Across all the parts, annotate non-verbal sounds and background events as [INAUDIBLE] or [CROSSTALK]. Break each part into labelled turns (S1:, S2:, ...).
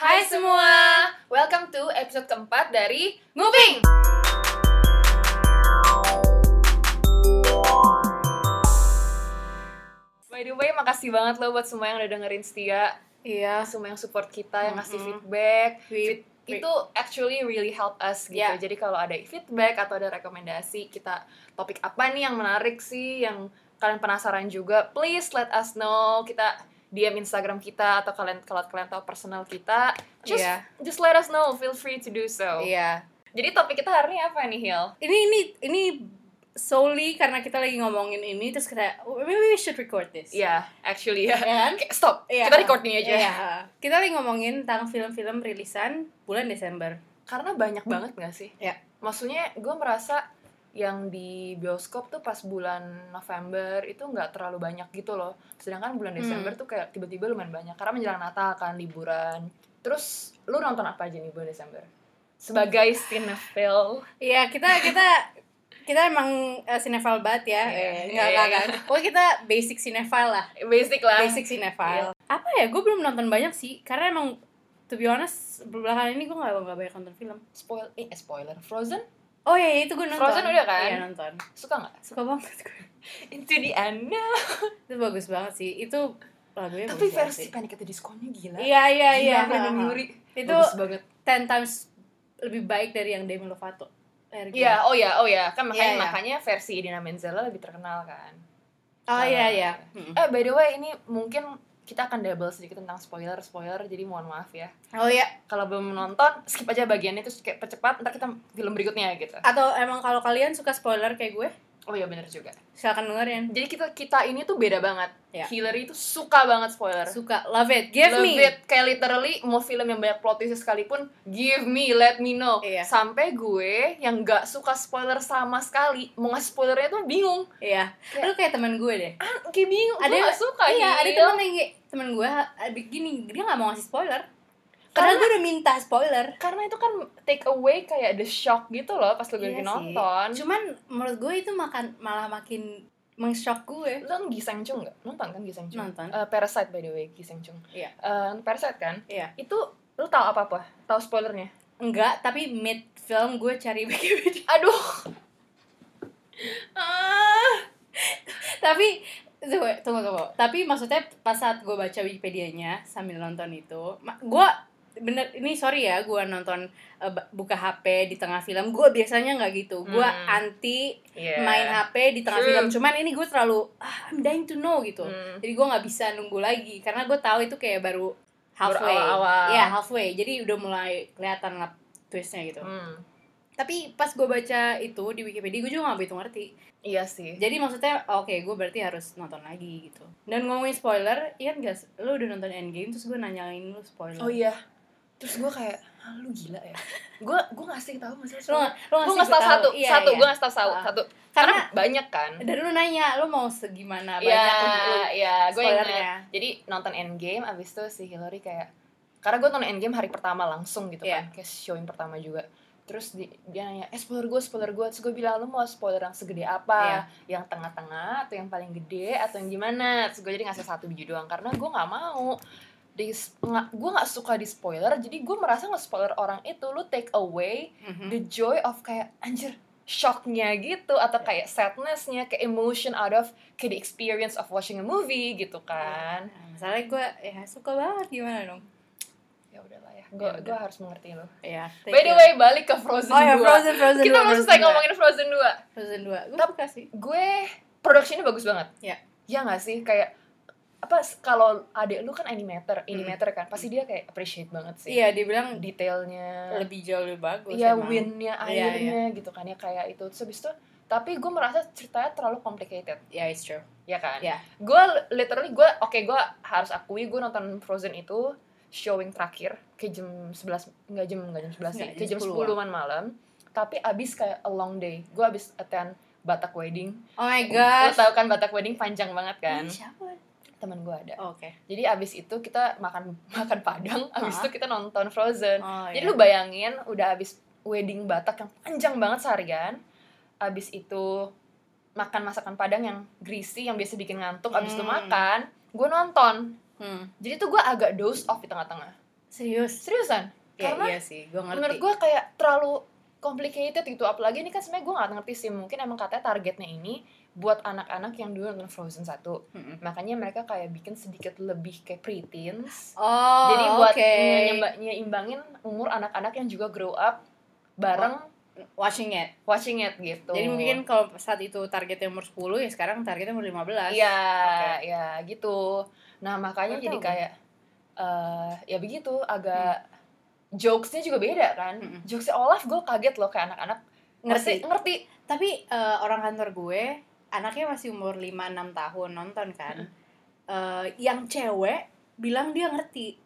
S1: Hai semua, welcome to episode keempat dari Moving. By the way, makasih banget loh buat semua yang udah dengerin setia,
S2: Iya,
S1: semua yang support kita, yang ngasih
S2: Mhm.
S1: feedback.
S2: Feed-
S1: Fit- itu actually really help us gitu.
S2: Yeah.
S1: Jadi kalau ada feedback atau ada rekomendasi kita topik apa nih yang menarik sih, yang kalian penasaran juga, please let us know. Kita DM Instagram kita atau kalian kalau kalian tahu personal kita, just
S2: Iya.
S1: just let us know. Feel free to do so.
S2: iya.
S1: Jadi topik kita hari ini apa nih, Hil?
S2: Ini ini ini solely karena kita lagi ngomongin ini terus kita oh, maybe we should record this.
S1: Ya, actually ya.
S2: Ya kan?
S1: Oke, Stop.
S2: Iya.
S1: [LAUGHS] Kita record ini aja.
S2: Iya. Kita lagi ngomongin tentang film-film rilisan bulan Desember.
S1: Karena banyak banget gak sih?
S2: Iya.
S1: Maksudnya gue merasa yang di bioskop tuh pas bulan November itu nggak terlalu banyak gitu loh. Sedangkan bulan
S2: Hmm.
S1: Desember tuh kayak tiba-tiba lumayan banyak. Karena menjelang Natal kan, liburan. Terus lu nonton apa aja nih bulan Desember? Sebagai sinetron
S2: Iya, kita
S1: [LAUGHS]
S2: kita kita emang eh, sinetron banget ya.
S1: Iya.
S2: Eh, enggak enggak enggak. Pokoknya kita basic sinetron lah.
S1: basic lah. Iya.
S2: Basic sinetron. Apa ya? Gue belum nonton banyak sih karena emang to be honest belakangan ini gue nggak nggak banyak nonton film.
S1: Spoil eh, spoiler. Frozen
S2: Oh iya, iya, itu gue nonton.
S1: Frozen udah kan?
S2: Iya nonton.
S1: suka nggak?
S2: Suka banget gue.
S1: Into the unknown.
S2: itu bagus banget sih itu lagunya
S1: Tapi
S2: bagus banget
S1: versi
S2: sih.
S1: Panic at the Disco-nya gila.
S2: iya iya iya
S1: Gila, Freddie Mercury.
S2: Itu-
S1: Bagus banget.
S2: ten times lebih baik dari yang Demi Lovato Air
S1: Iya,
S2: Gila.
S1: oh ya, oh ya. Kan makanya
S2: Iya, iya.
S1: makanya versi Idina Menzel lebih terkenal kan.
S2: oh iya iya Mm.
S1: Eh by the way ini mungkin kita akan double sedikit tentang spoiler spoiler jadi mohon maaf ya
S2: oh iya
S1: kalau belum nonton skip aja bagiannya terus kayak percepat ntar kita film berikutnya gitu
S2: atau emang kalau kalian suka spoiler kayak gue
S1: oh iya bener juga
S2: silakan dengerin
S1: jadi kita kita ini tuh beda banget
S2: Ya.
S1: Hillary itu suka banget spoiler
S2: suka love it give
S1: Love
S2: me
S1: it. kayak literally mau film yang banyak plot twist sekalipun give me let me know
S2: Iya.
S1: sampai gue yang nggak suka spoiler sama sekali mau ngasih spoilernya tuh bingung
S2: iya
S1: Kayak- Oh,
S2: lu kayak teman gue deh
S1: ah, kayak bingung
S2: Ada-
S1: gue nggak suka gitu.
S2: iya ada
S1: Hil.
S2: teman yang kayak- teman gue ah, gini dia nggak mau ngasih spoiler karena
S1: Karena-
S2: gue udah minta spoiler
S1: karena itu kan take away kayak the shock gitu loh pas lu
S2: Iya
S1: lagi
S2: sih.
S1: nonton
S2: cuman menurut gue itu makan malah makin mengshock gue
S1: lu kan Giseng Chung nggak nonton kan Giseng Chung
S2: nonton
S1: Eh, Parasite by the way Giseng Chung
S2: Iya.
S1: Eh, Parasite kan
S2: Iya.
S1: itu lu tahu apa apa tahu spoilernya
S2: enggak tapi mid film gue cari [LAUGHS] wiki
S1: aduh ah
S2: tapi tunggu tunggu tunggu. tapi maksudnya pas saat gue baca Wikipedia-nya sambil nonton itu ma- gue bener ini sorry ya gue nonton eh, ba- buka HP di tengah film gue biasanya nggak gitu gue
S1: Hmm.
S2: anti
S1: Iya.
S2: main HP di tengah
S1: True.
S2: film cuman ini gue terlalu ah, I'm dying to know gitu
S1: Hmm.
S2: jadi gue nggak bisa nunggu lagi karena gue tahu itu kayak baru halfway
S1: awal-awal.
S2: ya halfway jadi udah mulai kelihatan lah twistnya gitu
S1: Hmm.
S2: tapi pas gue baca itu di Wikipedia gue juga nggak begitu ngerti
S1: iya sih
S2: jadi maksudnya oke gue berarti harus nonton lagi gitu. Dan ngomongin spoiler, iya kan guys, lu udah nonton Endgame terus gue nanyain lu spoiler.
S1: oh iya terus gue kayak ah, lu gila ya gue gue ngasih tahu ngasih tahu
S2: Lu, lu
S1: gue
S2: ngasih
S1: ngasih tahu
S2: tahu.
S1: satu
S2: Iya,
S1: satu
S2: iya.
S1: gue ngasih tahu satu
S2: Ah.
S1: satu karena
S2: Karena
S1: banyak kan
S2: dan lu nanya, lu mau segimana
S1: Iya,
S2: banyak lu
S1: iya, gue ingat.
S2: spoilernya.
S1: Jadi nonton Endgame, abis itu si Hillary kayak karena gue nonton Endgame hari pertama langsung gitu
S2: Iya.
S1: kan, kayak showing pertama juga. Terus di- dia nanya, eh spoiler gue, spoiler gue. Terus gue bilang, lu mau spoiler yang segede apa? Yang tengah-tengah, atau yang paling gede, atau yang gimana? Terus gue jadi ngasih satu biji doang, karena gue gak mau. Di, gue gak suka di spoiler, jadi gue merasa nge-spoiler orang itu, lu take away
S2: Mhm.
S1: the joy of kayak anjir shocknya gitu atau kayak sadnessnya kayak emotion out of kayak the experience of watching a movie gitu kan
S2: Nah, Masalahnya gue ya suka banget gimana dong?
S1: ya udahlah ya gue
S2: Ya udah.
S1: gue harus mengerti lo
S2: Iya. take
S1: by the
S2: care.
S1: way balik ke Frozen
S2: oh ya
S1: 2
S2: Frozen Frozen.
S1: kita
S2: dua,
S1: mau
S2: Frozen
S1: selesai
S2: dua.
S1: ngomongin Frozen 2
S2: Frozen 2. Gue
S1: Tapi-
S2: suka sih.
S1: gue productionnya bagus banget
S2: Ya.
S1: ya nggak sih kayak apa kalau adek lu kan animator
S2: Hmm.
S1: animator kan pasti dia kayak appreciate banget sih
S2: Iya, dia bilang
S1: detailnya
S2: lebih jauh lebih bagus.
S1: Iya
S2: emang.
S1: winnya
S2: Iya,
S1: airnya gitu kan ya kayak itu terus habis itu tapi gue merasa ceritanya terlalu complicated
S2: Iya, it's true.
S1: ya kan
S2: Iya.
S1: gue literally gue oke gue harus akui gue nonton Frozen itu showing terakhir ke jam 11 nggak jam nggak jam 11 sih
S2: Nggak,
S1: ke
S2: jam
S1: jam
S2: 10
S1: 10-an malam tapi abis kayak a long day gue abis attend Batak wedding
S2: Oh my
S1: lo
S2: gosh.
S1: tau kan Batak wedding panjang banget kan
S2: Ini siapa?
S1: teman gue ada
S2: Oh, Oke.
S1: jadi abis itu kita makan [LAUGHS] makan padang abis
S2: Hah?
S1: itu kita nonton Frozen
S2: Oh,
S1: jadi
S2: iya.
S1: lu bayangin udah abis wedding Batak yang panjang banget seharian, abis itu makan masakan Padang yang greasy yang biasa bikin ngantuk, abis itu
S2: Hmm.
S1: makan, gue nonton.
S2: Hmm.
S1: Jadi tuh gue agak doze off di tengah-tengah.
S2: Serius?
S1: seriusan
S2: Ya,
S1: Karena
S2: iya sih, gue ngerti.
S1: menurut gue kayak terlalu complicated gitu apalagi ini kan sebenarnya gue nggak ngerti sih mungkin emang katanya targetnya ini buat anak-anak yang dulu nonton Frozen 1
S2: Mm-mm.
S1: makanya mereka kayak bikin sedikit lebih kayak preteens
S2: Oh,
S1: jadi buat
S2: oke.
S1: nyemba- nyeimbangin umur anak-anak yang juga grow up bareng
S2: Oh, Watching it.
S1: watching it gitu
S2: Jadi mungkin kalau saat itu targetnya umur 10 ya sekarang targetnya umur 15.
S1: Iya, ya gitu. Nah makanya
S2: Baru
S1: jadi
S2: tahu.
S1: kayak eh ya begitu agak
S2: Hmm.
S1: jokesnya juga beda kan.
S2: Mm-mm.
S1: Jokesnya Olaf gue kaget loh kayak anak-anak
S2: Hmm. Ngerti.
S1: pasti ngerti.
S2: Tapi eh, orang kantor gue anaknya masih umur 5 6 tahun nonton kan. Eh, yang cewek bilang dia ngerti.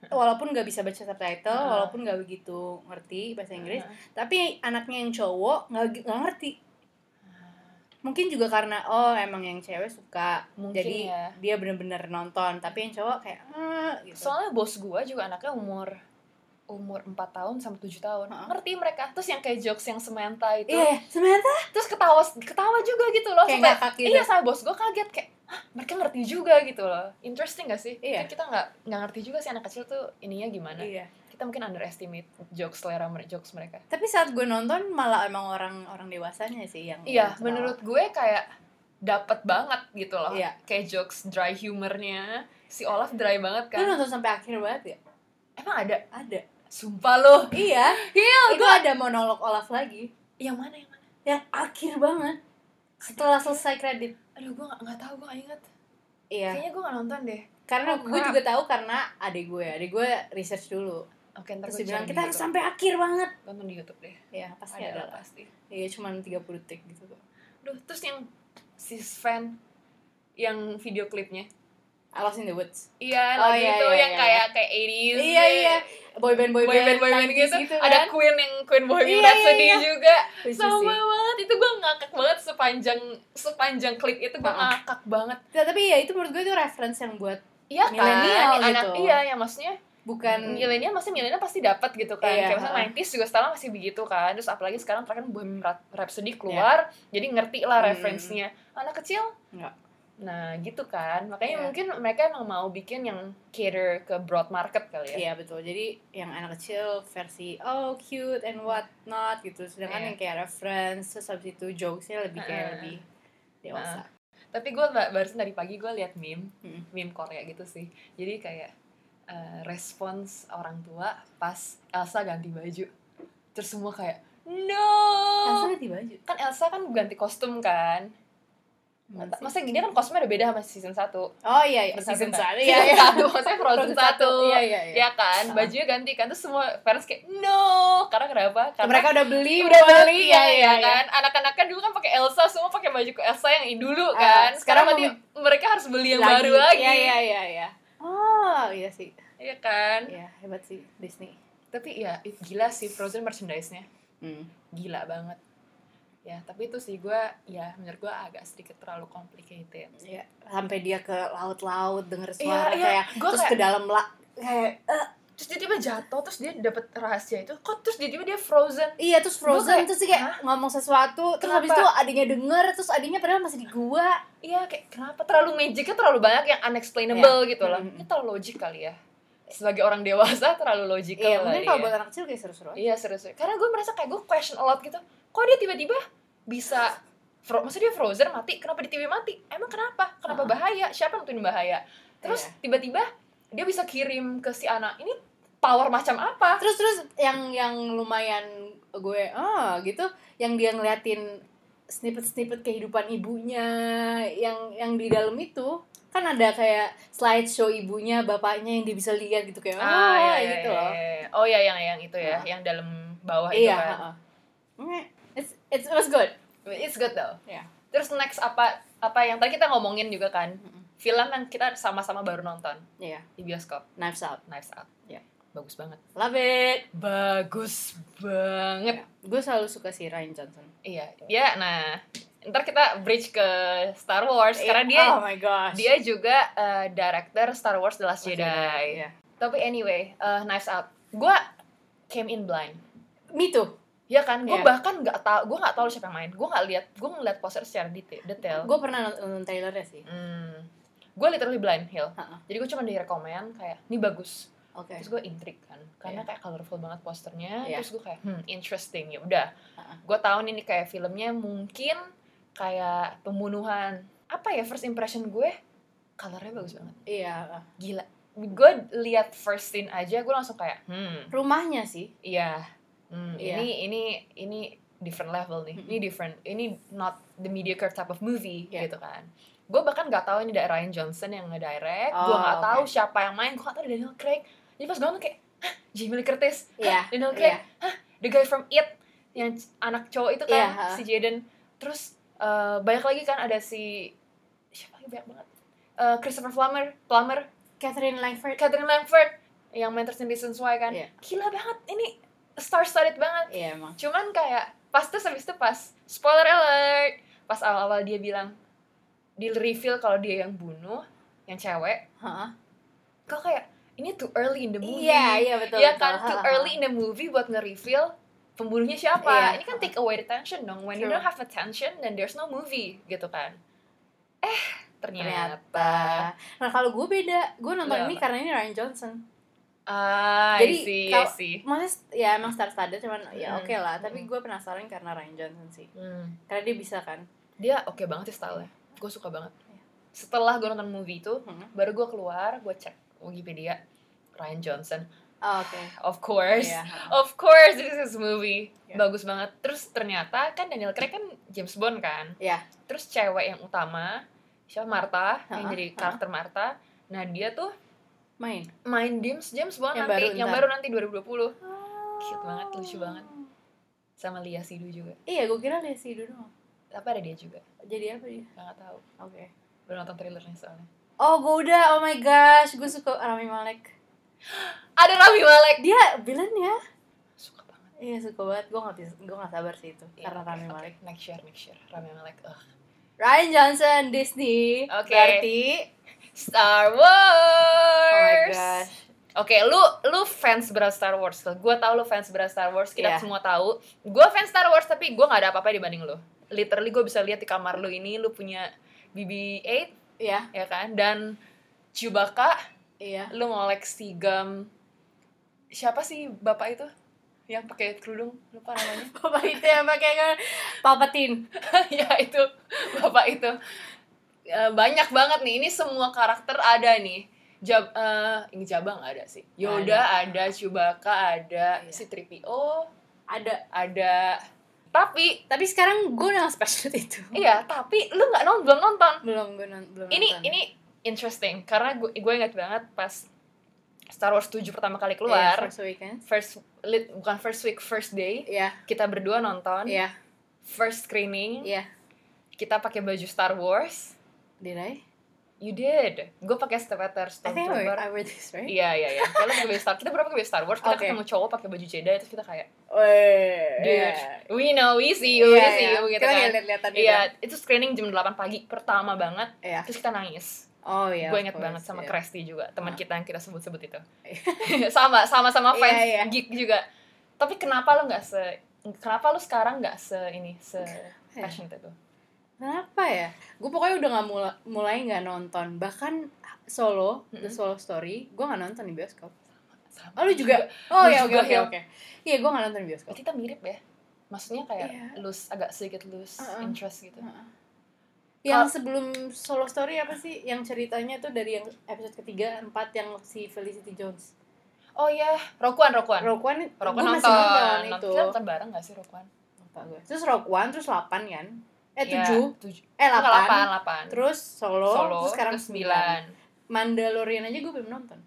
S2: Walaupun gak bisa baca subtitle,
S1: Heeh.
S2: walaupun gak begitu ngerti bahasa Inggris,
S1: Nah,
S2: tapi anaknya yang cowok nggak gi- nggak ngerti. Mungkin juga karena oh emang yang cewek suka,
S1: Mungkin
S2: jadi
S1: ya.
S2: dia bener-bener nonton. Tapi yang cowok kayak "Eh," gitu.
S1: Soalnya bos gue juga anaknya umur umur 4 tahun sama 7 tahun.
S2: Heeh.
S1: Ngerti mereka. Terus yang kayak jokes yang sementa itu.
S2: Iya, sebenarnya
S1: Terus ketawa ketawa juga gitu loh.
S2: kayak
S1: sampai-
S2: ngakak gitu.
S1: Iya sama bos gue kaget kayak Hah, mereka ngerti juga gitu loh interesting gak sih
S2: Iya.
S1: Kan kita nggak nggak ngerti juga sih anak kecil tuh ininya gimana
S2: Iya.
S1: kita mungkin underestimate jokes selera mere- jokes mereka
S2: Tapi saat gue nonton malah emang orang orang dewasanya sih yang
S1: iya
S2: yang ketawa.
S1: menurut gue kayak dapat banget gitu loh
S2: Iya.
S1: kayak jokes dry humornya si Olaf dry banget
S2: Lu
S1: kan
S2: nonton sampai akhir banget ya?
S1: emang ada
S2: Ada.
S1: sumpah lo
S2: Iya.
S1: Gila,
S2: itu ada monolog Olaf lagi.
S1: yang mana yang mana
S2: Yang akhir banget. Setelah selesai kredit.
S1: aduh gue nggak- nggak tahu gue nggak ingat
S2: Iya.
S1: kayaknya gue nggak nonton deh
S2: Karena
S1: Oh,
S2: gue
S1: crap.
S2: juga tahu karena adik gue. Adik gue research dulu.
S1: oke ntar
S2: Terus
S1: gue
S2: dia bilang
S1: cari di
S2: kita harus
S1: YouTube."
S2: sampai akhir banget.
S1: nonton di YouTube deh
S2: Iya, pasti
S1: ada
S2: ada,
S1: lah
S2: lah.
S1: pasti
S2: Iya, cuman 30 detik gitu tuh.
S1: Duh, terus yang si Sven yang video klipnya.
S2: I Lost in the Woods.
S1: Iya,
S2: Oh,
S1: lagu
S2: iya,
S1: itu
S2: iya,
S1: yang
S2: iya.
S1: kayak kayak 80s.
S2: Iya, iya. Boyband boyband
S1: Boyband boyband
S2: 90s
S1: gitu.
S2: kan.
S1: Ada Queen yang Queen Bohemian
S2: Iya,
S1: Rhapsody
S2: iya, iya.
S1: juga.
S2: Lucu sih.
S1: Sama banget. Itu gue ngakak banget sepanjang sepanjang klip itu gue
S2: Ah.
S1: ngakak banget.
S2: Nah, tapi ya itu menurut gue itu reference yang buat
S1: Iya kan?
S2: Milenial
S1: anak,
S2: gitu.
S1: Iya, yang maksudnya
S2: bukan
S1: milenial masih milenial pasti dapat gitu kan.
S2: Iya,
S1: Kayak misalnya
S2: ah.
S1: 90s juga setelah masih begitu kan. Terus apalagi sekarang terakhir Bohemian Rhap- Rhapsody keluar, jadi ngerti lah
S2: Hmm.
S1: referensinya. Anak kecil
S2: Enggak.
S1: Nah, gitu kan. Makanya
S2: Iya.
S1: mungkin mereka emang mau bikin yang cater ke broad market kali ya.
S2: Iya betul. Jadi yang anak kecil versi oh cute and what not gitu. Sedangkan
S1: Iya.
S2: yang kayak reference terus habis itu jokesnya lebih kayak
S1: Ah.
S2: lebih dewasa.
S1: Tapi gue ba- barusan dari pagi gue liat meme,
S2: Mm.
S1: meme Korea gitu sih. Jadi kayak eh, respons orang tua pas Elsa ganti baju. Terus semua kayak, no!
S2: Elsa ganti baju.
S1: Kan Elsa kan ganti kostum kan.
S2: Mana Iya sih?
S1: Masa gini kan kostumnya ada beda sama season 1.
S2: Oh iya, iya.
S1: Frozen
S2: season
S1: satu.
S2: satu.
S1: Season
S2: [LAUGHS] Iya, iya.
S1: satu, maksudnya Frozen satu.
S2: Iya, iya, iya.
S1: Ya kan,
S2: Ah.
S1: bajunya ganti kan. Terus semua parents kayak, no! Karena kenapa? Karena
S2: Mereka udah [LAUGHS] beli,
S1: udah beli
S2: iya,
S1: ya,
S2: iya, iya.
S1: kan anak-anak kan dulu kan pakai Elsa semua pakai baju ke Elsa yang dulu
S2: Ah,
S1: kan
S2: sekarang
S1: sekarang berarti mereka harus beli yang baru lagi
S2: Iya, iya, iya, iya. Oh, iya sih.
S1: Iya kan
S2: Iya, hebat sih Disney.
S1: tapi ya it- gila sih Frozen merchandise-nya
S2: Hmm.
S1: gila banget ya tapi itu sih gue ya menurut gue agak sedikit terlalu complicated
S2: Iya, sampai dia ke laut-laut
S1: Iya,
S2: denger suara
S1: iya.
S2: kayak
S1: Gua
S2: terus
S1: kayak-
S2: ke dalam la kayak eh,
S1: terus dia tiba jatuh terus dia dapet rahasia itu kok terus dia tiba dia frozen
S2: Iya terus
S1: Gua
S2: frozen
S1: kayak,
S2: terus dia kayak ngomong sesuatu terus habis itu
S1: Kenapa?
S2: adiknya denger terus adiknya padahal masih di gua.
S1: iya kayak kenapa terlalu magicnya terlalu banyak yang unexplainable gitu loh
S2: Mm-mm.
S1: ini terlalu logik kali ya sebagai orang dewasa terlalu logikal
S2: Iya mungkin
S1: kali
S2: kalau
S1: ya.
S2: buat anak kecil kayak seru-seru. aja.
S1: Iya serius Karena gue merasa kayak gue question a lot gitu Kok dia tiba-tiba bisa fro Maksudnya dia frozen mati Kenapa dia tiba-tiba mati? Emang kenapa? Kenapa
S2: Ah.
S1: bahaya? Siapa yang nentuin bahaya? Terus
S2: Iya.
S1: tiba-tiba dia bisa kirim ke si anak Ini power macam apa?
S2: Terus terus yang yang lumayan gue oh gitu yang dia ngeliatin snippet-snippet kehidupan ibunya yang yang di dalam itu kan ada kayak slideshow ibunya bapaknya yang dia bisa lihat gitu kayak oh gitu loh.
S1: Ah, iya. Oh iya yang yang itu ya
S2: Ah.
S1: Yang dalam bawah
S2: Iya,
S1: itu kan
S2: heeh. Oke, It's, it's, it was good.
S1: It's good though
S2: Iya.
S1: Terus next apa apa yang tadi kita ngomongin juga kan Film yang kita sama-sama baru nonton
S2: Mm-hmm. Iya,
S1: Di bioskop
S2: knives out.
S1: Knives Out
S2: Iya.
S1: Bagus banget
S2: Love it. Ya,
S1: Bagus banget
S2: Gue selalu suka si Ryan Johnson.
S1: Iya, dia nah ntar kita bridge ke Star Wars karena dia
S2: oh my gosh
S1: dia juga eh, director Star Wars The Last Jedi.
S2: Jedi, ya.
S1: Tapi anyway, eh, Knives Out. Gua came in blind.
S2: me too
S1: Ya kan, gue
S2: Iya.
S1: bahkan nggak tahu, gue nggak tahu siapa yang main. Gue nggak lihat, gue ngeliat poster secara detail. detail.
S2: gue pernah nonton trailernya sih
S1: Hmm. Gue literally blind hill.
S2: Ha-ha.
S1: Jadi gue cuma direkomend kayak, ini bagus.
S2: Oke.
S1: terus gue intrik kan karena kayak colorful banget posternya
S2: Iya.
S1: terus gue kayak hmm interesting ya udah
S2: Ha-ha.
S1: gue tahu nih ini kayak filmnya mungkin kayak pembunuhan apa ya first impression gue colornya bagus banget
S2: Iya.
S1: gila gue lihat first scene aja gue langsung kayak hmm
S2: Rumahnya sih.
S1: iya hmm,
S2: Iya.
S1: ini ini ini different level nih ini
S2: Mm-mm.
S1: different ini not the mediocre type of movie
S2: Iya.
S1: gitu kan gue bahkan nggak tahu ini dari Ryan Johnson yang ngedirect gue
S2: Oh,
S1: nggak
S2: oke.
S1: tahu siapa yang main gue nggak tahu dari Daniel Craig jadi pas gue nonton kayak Hah, Jamie Lee Curtis
S2: Iya.
S1: Daniel Craig
S2: Iya.
S1: the guy from It yang c- anak cowok itu
S2: Iya,
S1: kan
S2: ha.
S1: si Jaden terus eh, banyak lagi kan ada si siapa lagi banyak banget Eh, Christopher Plummer Plummer
S2: Catherine Langford.
S1: Catherine Langford yang main Thirteen Reasons Why kan
S2: Iya.
S1: gila banget ini star studded banget
S2: Iya emang.
S1: cuman kayak pas terus habis itu pas spoiler alert pas awal-awal dia bilang di reveal kalau dia yang bunuh yang cewek
S2: Hah?
S1: kok kayak ini too early in the movie
S2: Iya iya betul.
S1: Iya
S2: betul.
S1: kan
S2: Ha,
S1: too
S2: ha, ha.
S1: early in the movie buat nge-reveal pembunuhnya siapa.
S2: Iya.
S1: Ini kan take away the tension dong. When you
S2: True.
S1: don't have attention then there's no movie gitu kan. Eh, ternyata.
S2: Ternyata. Iya, Nah kalau gue beda, gue nonton
S1: Lo
S2: ini
S1: apa?
S2: karena ini Ryan Johnson.
S1: Ah,
S2: Jadi,
S1: I see, I
S2: kalau-
S1: see.
S2: Maksudnya ya emang star studded cuman ya
S1: Hmm.
S2: oke lah. Tapi
S1: Hmm.
S2: gue penasaran karena Ryan Johnson sih.
S1: Hmm.
S2: Karena dia bisa kan.
S1: Dia oke banget sih style-nya. Gue suka banget. Setelah gue nonton movie itu,
S2: Hmm.
S1: baru gue keluar, gue cek Wikipedia Ryan Johnson.
S2: Oh, oke.
S1: Of course.
S2: Iya.
S1: Of course, this is his movie.
S2: Iya.
S1: Bagus banget. Terus ternyata kan Daniel Craig kan James Bond kan.
S2: Iya.
S1: Terus cewek yang utama, siapa Martha, yang
S2: Ha-ha,
S1: jadi
S2: ha-ha.
S1: karakter Martha. Nah, dia tuh
S2: Main.
S1: main James James Bond
S2: Yang
S1: nanti
S2: baru
S1: yang
S2: ntar.
S1: baru nanti 2020 Cute
S2: Cute
S1: banget, lucu banget. sama Lia Sidu juga.
S2: Iya, gue kira Lia Sidu doang.
S1: Tapi ada dia juga.
S2: Jadi apa dia?
S1: Gak tahu.
S2: Oke.
S1: Baru nonton trailernya soalnya.
S2: Oh, gue udah. Oh my gosh, gue suka Rami Malek.
S1: Ada Rami Malek.
S2: Dia villain ya?
S1: Suka banget.
S2: Iya, suka banget. Gue gak, bisa- gua gak sabar sih itu.
S1: Iya,
S2: Karena
S1: oke,
S2: Rami
S1: oke.
S2: Malek.
S1: Next year, next year. Rami Malek. Ugh.
S2: Ryan Johnson, Disney.
S1: Oke.
S2: Berarti.
S1: Star
S2: Oh my
S1: Wars.
S2: gosh.
S1: Oke, lu lu fans berat Star Wars. Gue tahu lu fans berat Star Wars. Kita
S2: Iya.
S1: semua tahu. Gue fans Star Wars tapi gue nggak ada apa-apa dibanding lu. Literally gue bisa lihat di kamar lu ini lu punya BB-8
S2: Iya,
S1: ya kan dan Chewbacca.
S2: iya. [LAUGHS]
S1: Lu ngolek sigam. Siapa sih bapak itu yang pakai kerudung? Lupa namanya.
S2: Bapak itu yang pakai kan Palpatine.
S1: [LAUGHS] ya itu bapak itu Eh, banyak banget nih ini semua karakter ada nih Jab, eh, ini cabang ada sih Yoda ada, Chewbacca ada
S2: Iya.
S1: si 3PO
S2: Ada.
S1: ada tapi
S2: Tapi sekarang gue udah special [LAUGHS] itu.
S1: iya tapi lu nggak nonton belum nonton
S2: Belum gue non- belum
S1: ini
S2: nonton. Iya,
S1: ini interesting karena gue gue ingat banget pas Star Wars 7 pertama kali
S2: Iya,
S1: keluar
S2: first weekend.
S1: first lit- bukan first week first day
S2: Iya,
S1: kita berdua nonton
S2: iya,
S1: first screening
S2: iya.
S1: kita pakai baju Star Wars
S2: Did I?
S1: You did. Gue pakai sweater
S2: I think I
S1: Stormtrooper.
S2: wear, I wear this, right?
S1: Iya iya iya. Kita pakai baju Star. Kita berapa pakai baju Star Wars? Kita
S2: Oke.
S1: ketemu cowok pakai baju Jedi terus kita kayak,
S2: Weh,
S1: dude,
S2: iya.
S1: we know, we see you, we
S2: Iya,
S1: see
S2: iya.
S1: you gitu
S2: Kita
S1: kan.
S2: lihat-lihatan
S1: Iya, itu screening jam 8 pagi pertama banget.
S2: Iya.
S1: Terus kita nangis.
S2: Oh iya.
S1: gue
S2: of
S1: inget
S2: course,
S1: banget sama
S2: iya.
S1: Kresti juga, teman
S2: Ah.
S1: kita yang kita sebut-sebut itu. [LAUGHS] sama sama sama
S2: Iya,
S1: fans
S2: iya.
S1: geek juga. Tapi kenapa lo nggak se kenapa lu sekarang nggak se ini se
S2: ya?
S1: passionate itu?
S2: Kenapa ya? Gue pokoknya udah nggak mulai mulai nggak nonton. Bahkan solo,
S1: Mm-mm.
S2: The Solo Story, gue nggak nonton di bioskop.
S1: Sama.
S2: Oh lu juga?
S1: Lu
S2: Oh iya oke
S1: juga,
S2: oke
S1: Hil.
S2: oke. Iya gue nggak nonton di bioskop.
S1: Berarti kita mirip ya. Maksudnya kayak
S2: Iya.
S1: loose agak sedikit loose
S2: Uh-uh.
S1: interest gitu.
S2: Heeh. Yang sebelum Solo Story apa sih? Yang ceritanya tuh dari yang episode ketiga, empat yang si Felicity Jones.
S1: Oh iya, Rokuan, Rokuan.
S2: Rogue One,
S1: Rokuan
S2: gue
S1: nonton.
S2: masih nonton,
S1: Nonton-
S2: itu.
S1: Kita nonton bareng gak sih Rokuan?
S2: Lupa gue. Terus Rogue One, terus 8 kan? Eh
S1: Iya,
S2: 7,
S1: tujuh.
S2: eh
S1: Bukan,
S2: 8.
S1: delapan.
S2: Terus Solo,
S1: Solo,
S2: terus sekarang
S1: terus
S2: 9.
S1: sembilan.
S2: Mandalorian aja gue belum nonton.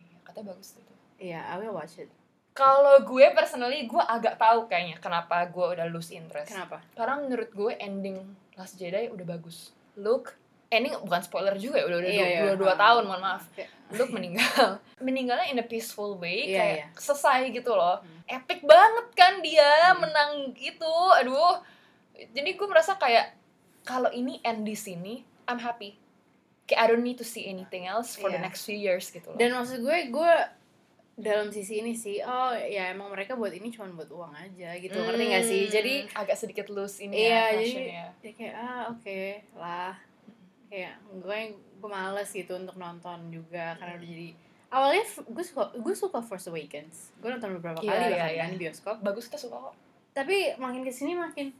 S1: Iya, Katanya bagus tuh itu.
S2: Iya, I will watch it.
S1: Kalau gue personally, gue agak tahu kayaknya kenapa gue udah lose interest.
S2: Kenapa?
S1: Karena menurut gue ending Last Jedi udah bagus. Luke, eh, ini bukan spoiler juga ya, udah udah
S2: Iya,
S1: dua,
S2: iya.
S1: dua- dua
S2: Ah.
S1: tahun, mohon maaf.
S2: Kayak-
S1: Luke meninggal. [LAUGHS] Meninggalnya in a peaceful way,
S2: Iya,
S1: kayak
S2: iya.
S1: selesai gitu loh.
S2: Hmm.
S1: Epic banget kan dia
S2: Hmm.
S1: menang gitu. Aduh. Jadi gue merasa kayak kalau ini end di sini, I'm happy. Kayak I don't need to see anything else for the
S2: Iya.
S1: next few years gitu loh.
S2: Dan maksud gue, gue dalam sisi ini sih, oh ya emang mereka buat ini cuma buat uang aja gitu, ngerti gak sih?
S1: Hmm,
S2: Jadi
S1: agak sedikit loose ini
S2: Iya,
S1: ya
S2: jadi-
S1: passionnya.
S2: ya kayak ah oke
S1: Hmm.
S2: lah kayak gue gue males gitu untuk nonton juga karena udah jadi awalnya gue suka gue suka Force Awakens gue nonton beberapa
S1: Iya,
S2: kali
S1: iya,
S2: bahkan
S1: iya.
S2: kan di bioskop
S1: bagus kita suka kok
S2: tapi makin kesini makin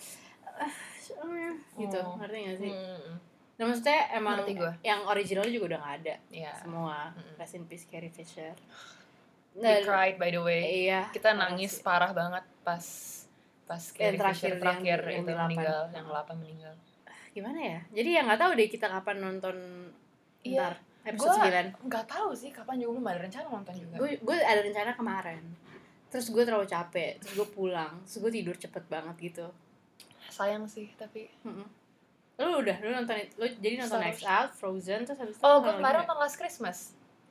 S2: eh, gitu
S1: Oh.
S2: ngerti gak sih
S1: Hmm,
S2: dan maksudnya emang
S1: Ngerti gua.
S2: yang original juga udah gak ada
S1: iya
S2: semua
S1: Mm-mm.
S2: rest in peace Carrie Fisher
S1: we
S2: Dan-
S1: cried by the way
S2: iya
S1: kita nangis parah banget pas pas Carrie
S2: terakhir,
S1: Fisher terakhir
S2: yang- yang
S1: itu
S2: di lapan.
S1: meninggal yang 8 meninggal
S2: gimana ya jadi ya nggak tahu deh kita kapan nonton
S1: Iya.
S2: ntar episode
S1: Gua-
S2: 9
S1: nggak tahu sih kapan juga belum ada rencana nonton juga
S2: gue gue ada rencana kemarin terus gue terlalu capek terus gue pulang terus gue tidur cepet banget gitu
S1: sayang sih tapi
S2: Mm-mm. lu udah lu nonton it- lu jadi nonton
S1: Star
S2: Knives
S1: Wars.
S2: Out Frozen terus habis itu
S1: oh
S2: nonton
S1: gue
S2: lagi
S1: kemarin
S2: nggak?
S1: nonton Last Christmas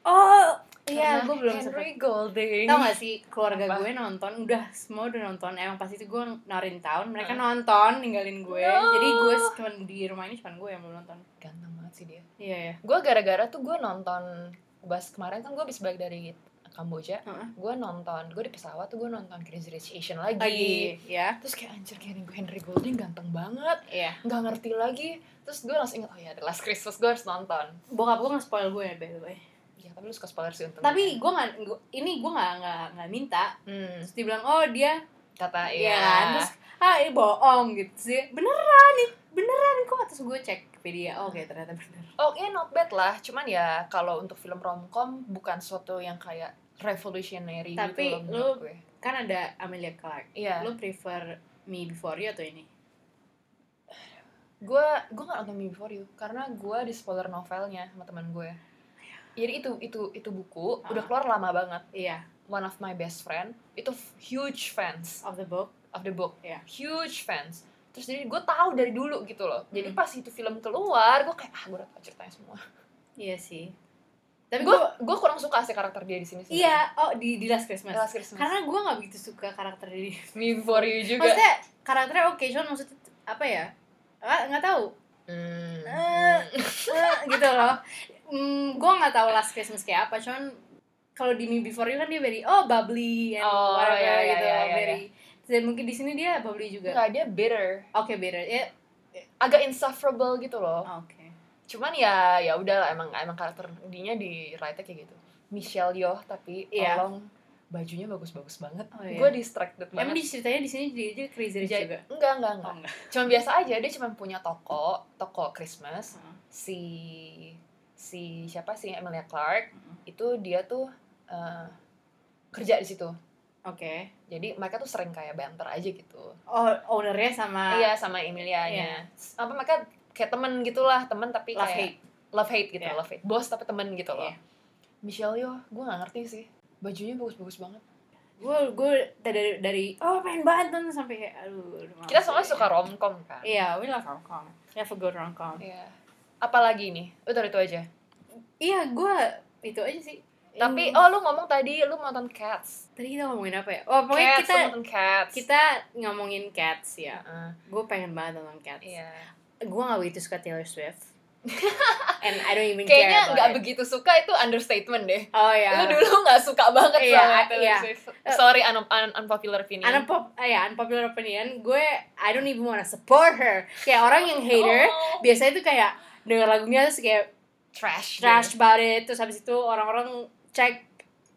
S2: oh iya
S1: Karena
S2: gue belum
S1: Henry
S2: sempet
S1: Golding
S2: tau gak sih keluarga
S1: Apa?
S2: gue nonton udah semua udah nonton emang pas itu gue narin tahun mereka nonton ninggalin gue
S1: No.
S2: jadi gue cuman di rumah ini cuman gue yang belum nonton
S1: ganteng banget sih dia
S2: iya ya
S1: gue gara-gara tuh gue nonton bas kemarin kan gue habis balik dari Kamboja
S2: Heeh.
S1: gue nonton gue di pesawat tuh gue nonton Crazy Rich Asian lagi,
S2: lagi ya
S1: terus kayak anjir kayak Henry Golding ganteng banget
S2: iya
S1: nggak ngerti lagi terus gue langsung ingat oh ya The Last Christmas gue harus nonton
S2: bokap gue nggak spoil gue by the way
S1: ya tapi lu suka spoiler sih untungnya
S2: tapi gue nggak gua- ini gue nggak nggak nggak minta
S1: hmm,
S2: terus dibilang oh dia
S1: kata
S2: Iya
S1: ya
S2: kan? Terus, ah ini bohong gitu sih. Beneran nih, beneran kok. Terus gue cek Wikipedia, oke ternyata bener.
S1: oh iya not bad lah cuman ya kalau untuk film romcom bukan suatu yang kayak revolutionary
S2: Tapi
S1: gitu loh menurut
S2: lu-
S1: gue
S2: Kan ada Amelia Clark.
S1: iya
S2: Lo prefer Me Before You atau ini?
S1: gue gue nggak nonton Me Before You karena gue di spoiler novelnya sama teman gue jadi itu itu itu buku
S2: Ah.
S1: udah keluar lama banget
S2: Iya,
S1: one of my best friend itu f- huge fans
S2: of the book.
S1: of the book
S2: Iya.
S1: huge fans terus jadi gue tahu dari dulu gitu loh jadi
S2: Hmm.
S1: pas itu film keluar gue kayak ah gue udah tahu ceritanya semua
S2: Iya sih. Tapi
S1: gue
S2: gue,
S1: gue kurang suka sih karakter dia di sini sebenarnya.
S2: iya, oh di, di Last Christmas.
S1: Last Christmas
S2: Karena gue nggak begitu suka karakter dia.
S1: Me Before You juga
S2: Maksudnya karakternya oke, cuman maksudnya apa ya? Ah, nggak tahu
S1: Hmm.
S2: Eh. Eh, gitu loh mm, gue nggak tahu last Christmas kayak apa cuman kalau di Me Before You kan dia very oh bubbly and
S1: Oh,
S2: whatever
S1: iya, iya,
S2: gitu
S1: iya, iya,
S2: very dan mungkin di sini dia bubbly juga
S1: Nggak, dia bitter
S2: oke beda ya
S1: agak insufferable gitu loh
S2: oke
S1: cuman ya ya udahlah emang emang karakter dinya di write kayak gitu Michelle Yeoh tapi
S2: Iya.
S1: tolong bajunya bagus-bagus banget
S2: Oh, iya.
S1: gue distracted
S2: emang
S1: banget
S2: di ceritanya di sini dia aja crazy rich
S1: Jadi-
S2: juga
S1: enggak enggak enggak
S2: oh enggak
S1: cuma biasa aja dia cuma punya toko toko Christmas
S2: Heeh.
S1: si si siapa sih Emilia Clark
S2: Heeh.
S1: itu dia tuh eh, kerja di situ
S2: oke
S1: jadi mereka tuh sering kayak banter aja gitu
S2: oh ownernya sama
S1: iya sama Emilianya apa mereka kayak temen gitulah temen tapi
S2: love
S1: kayak
S2: hate
S1: love hate gitu
S2: Iya.
S1: love hate bos tapi temen gitu loh
S2: Iya.
S1: Michelle Yeoh, gue gak ngerti sih. Bajunya bagus-bagus banget.
S2: gue gue dari dari oh pengen banget nonton sampai kayak aduh udah males
S1: Kita soalnya
S2: deh.
S1: suka romcom kan.
S2: iya we love romcom have a good romcom
S1: Iya. Apalagi nih, udah itu aja.
S2: iya gue itu aja sih
S1: Tapi oh lu ngomong tadi lu mau nonton Cats.
S2: tadi kita ngomongin apa ya? Oh
S1: Cats,
S2: pokoknya kita
S1: lu nonton Cats. Iya.
S2: kita ngomongin cats ya.
S1: Heeh,
S2: Gue pengen banget nonton cats.
S1: iya.
S2: Gue gak begitu suka Taylor Swift.
S1: [LAUGHS]
S2: And I don't
S1: Kayaknya
S2: even care about
S1: nggak
S2: it.
S1: begitu suka itu understatement deh.
S2: Oh ya.
S1: Lu dulu nggak suka banget
S2: Iya,
S1: sama Taylor
S2: iya.
S1: Swift. Sorry un- un- unpopular opinion.
S2: Unpop, eh, ya, unpopular opinion, gue I don't even wanna support her. Kayak orang yang hater,
S1: Oh,
S2: biasanya tuh kayak denger lagunya terus kayak
S1: trash.
S2: trash about it, terus habis itu orang-orang cek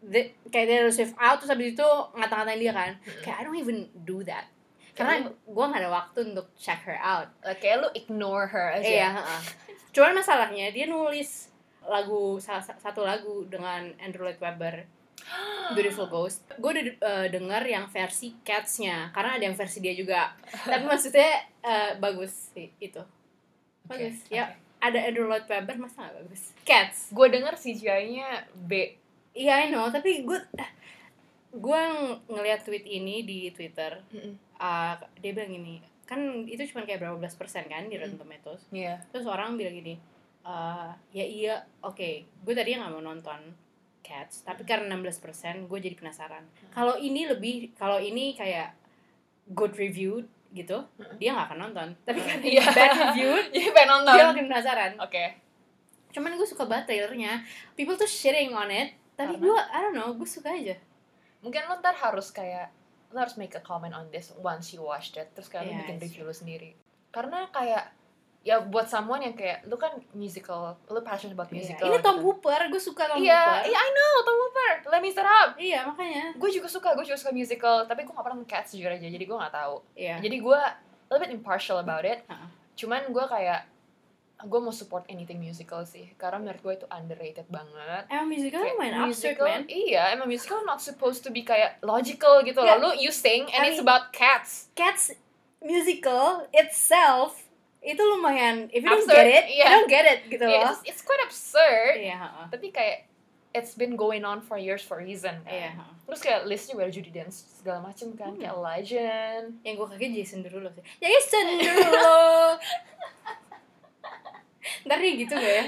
S2: the, kayak Taylor Swift out, terus habis itu ngata-ngatain dia kan.
S1: Mm-mm.
S2: Kayak I don't even do that.
S1: Kayak
S2: Karena gue gak ada waktu untuk check her out.
S1: Like, kayak lu ignore her aja.
S2: Iya, heeh. Cuman masalahnya dia nulis lagu salah sa- satu lagu dengan Andrew Lloyd Webber Beautiful Ghost. Gue udah eh, denger yang versi Cats-nya karena ada yang versi dia juga. Tapi maksudnya eh, bagus sih itu.
S1: Oke,
S2: Bagus. Ya, ada Andrew Lloyd Webber masa gak bagus? Cats.
S1: Gue denger CGI-nya B.
S2: Iya, I know, tapi eh, gue gue ngelihat tweet ini di Twitter. Eh, dia bilang gini, kan itu cuma kayak berapa belas persen kan di Rotten Tomatoes.
S1: Iya.
S2: [LAUGHS] terus orang bilang gini "Eh, ya iya oke gue tadi nggak mau nonton Cats tapi
S1: Hmm.
S2: karena 16% gue jadi penasaran kalau ini lebih kalau ini kayak good review gitu
S1: Hmm.
S2: dia nggak akan nonton tapi karena
S1: Iya.
S2: bad review
S1: [LAUGHS] Jadi pengen
S2: dia
S1: nonton. Iya. Oke.
S2: makin penasaran cuman gue suka banget trailernya people tuh shitting on it tapi
S1: Karena?
S2: gue I don't know gue suka aja
S1: mungkin lo ntar harus kayak lo harus make a comment on this once you watch it terus kayak lo
S2: Iya,
S1: bikin
S2: sih.
S1: review lo sendiri karena kayak ya buat someone yang kayak lu kan musical lu passionate about
S2: Iya.
S1: musical
S2: Ini Tom
S1: gitu.
S2: Hooper, gue suka Tom
S1: iya
S2: Hooper.
S1: iya I know Tom Hooper Let Me Set Up
S2: Iya, makanya.
S1: gue juga suka gue juga suka musical tapi gue gak pernah catch jujur aja jadi gue nggak tahu
S2: Iya.
S1: jadi gue a little bit impartial about it
S2: Ha-ha.
S1: cuman gue kayak gue mau support anything musical sih karena menurut gue itu underrated banget
S2: Emang musical
S1: Kayak
S2: main absurd,
S1: musical,
S2: man.
S1: Iya, emang musical not supposed to be kayak logical gitu
S2: Nggak.
S1: loh. Lu you sing and
S2: Iya. I
S1: it's
S2: mean-
S1: about cats.
S2: Cats musical itself itu lumayan if you don't
S1: Absurd,
S2: get it,
S1: iya.
S2: you don't get it gitu
S1: Yeah,
S2: loh.
S1: it's, it's quite absurd.
S2: Iya, ha-ha.
S1: Tapi kayak it's been going on for years for a reason. Kan?
S2: Iya, ha-ha.
S1: Terus kayak listnya gue ada Judy Dance segala macem kan
S2: Hmm.
S1: kayak Legend.
S2: Yang gue Ya, kaget Jason Derulo sih. Ya, iya, Jason
S1: [LAUGHS]
S2: Derulo. Ntar dia gitu gak ya?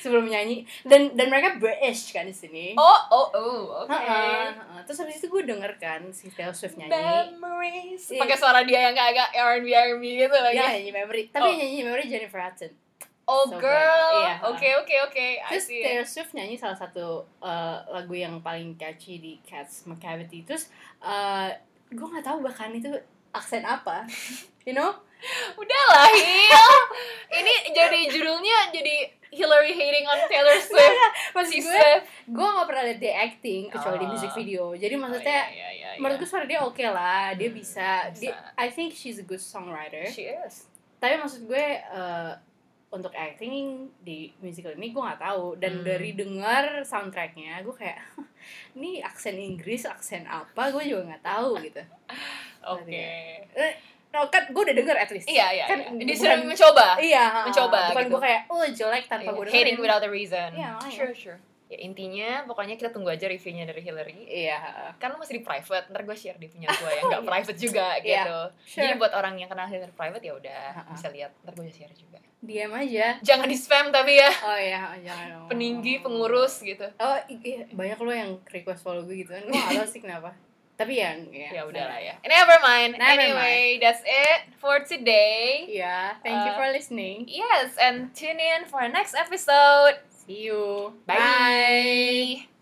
S2: Sebelum nyanyi dan dan mereka British kan di sini.
S1: Oh oh oh oke.
S2: Ha-ha, ha-ha. Terus habis itu gue denger kan si Taylor Swift nyanyi.
S1: Memories.
S2: Iya.
S1: Pakai suara dia yang kayak agak R&B R&B gitu lagi.
S2: Dia nggak Ya, nyanyi memory, tapi
S1: Oh.
S2: yang nyanyi memory Jennifer Hudson.
S1: Oh
S2: So good.
S1: girl.
S2: Iya.
S1: Oke oke oke. I
S2: Terus
S1: see.
S2: Taylor Swift nyanyi salah satu uh, lagu yang paling catchy di Cats Macavity. Terus uh, gue nggak tahu bahkan itu aksen apa, you know?
S1: Udahlah, Hil. Ini jadi judulnya jadi Hillary hating on [LAUGHS]
S2: [LAUGHS]
S1: Taylor Swift.
S2: Iya, Maksud
S1: Si
S2: gue,
S1: Swift.
S2: gue nggak pernah liat dia acting kecuali di
S1: Oh.
S2: music video. Jadi maksudnya,
S1: Oh, iya, iya, iya,
S2: menurut gue suara dia oke lah, dia
S1: Hmm,
S2: bisa.
S1: bisa.
S2: Dia, I think she's a good songwriter.
S1: iya. she is.
S2: Tapi maksud gue uh, untuk acting di musical ini gue nggak tahu. Dan
S1: Hmm.
S2: dari dengar soundtracknya, gue kayak [LAUGHS] ini aksen Inggris, aksen apa? Gue juga nggak tahu gitu.
S1: Oke.
S2: No, kan gue udah denger at least.
S1: Iya, iya.
S2: ya. Kan
S1: iya.
S2: bukan-
S1: Dia sudah mencoba.
S2: Iya, ha,
S1: Mencoba,
S2: Bukan
S1: gitu.
S2: gue kayak, oh jelek tanpa gue
S1: Iya,
S2: dengerin.
S1: Hating without a reason.
S2: Iya, makanya.
S1: sure, sure. Ya intinya pokoknya kita tunggu aja reviewnya dari Hillary.
S2: Iya,
S1: Karena masih di private, ntar gue share di punya gue
S2: [LAUGHS]
S1: yang nggak private juga gitu.
S2: Iya, sure.
S1: Jadi buat orang yang kenal Hillary private ya udah
S2: Ha-ha.
S1: bisa lihat, ntar gue share juga.
S2: Diam aja.
S1: Jangan di spam tapi ya
S2: Oh iya, ha,
S1: [LAUGHS]
S2: jangan. dong.
S1: peninggi, pengurus gitu.
S2: Oh, i- iya, banyak lo yang request follow gue gitu kan. Gue gak tau sih kenapa. Tapi ya, ya.
S1: Ya udahlah ya. Never mind.
S2: Never
S1: anyway, that's it for today.
S2: Iya, thank you
S1: Uh,
S2: for listening.
S1: Yes, and tune in for our next episode.
S2: See you.
S1: Bye.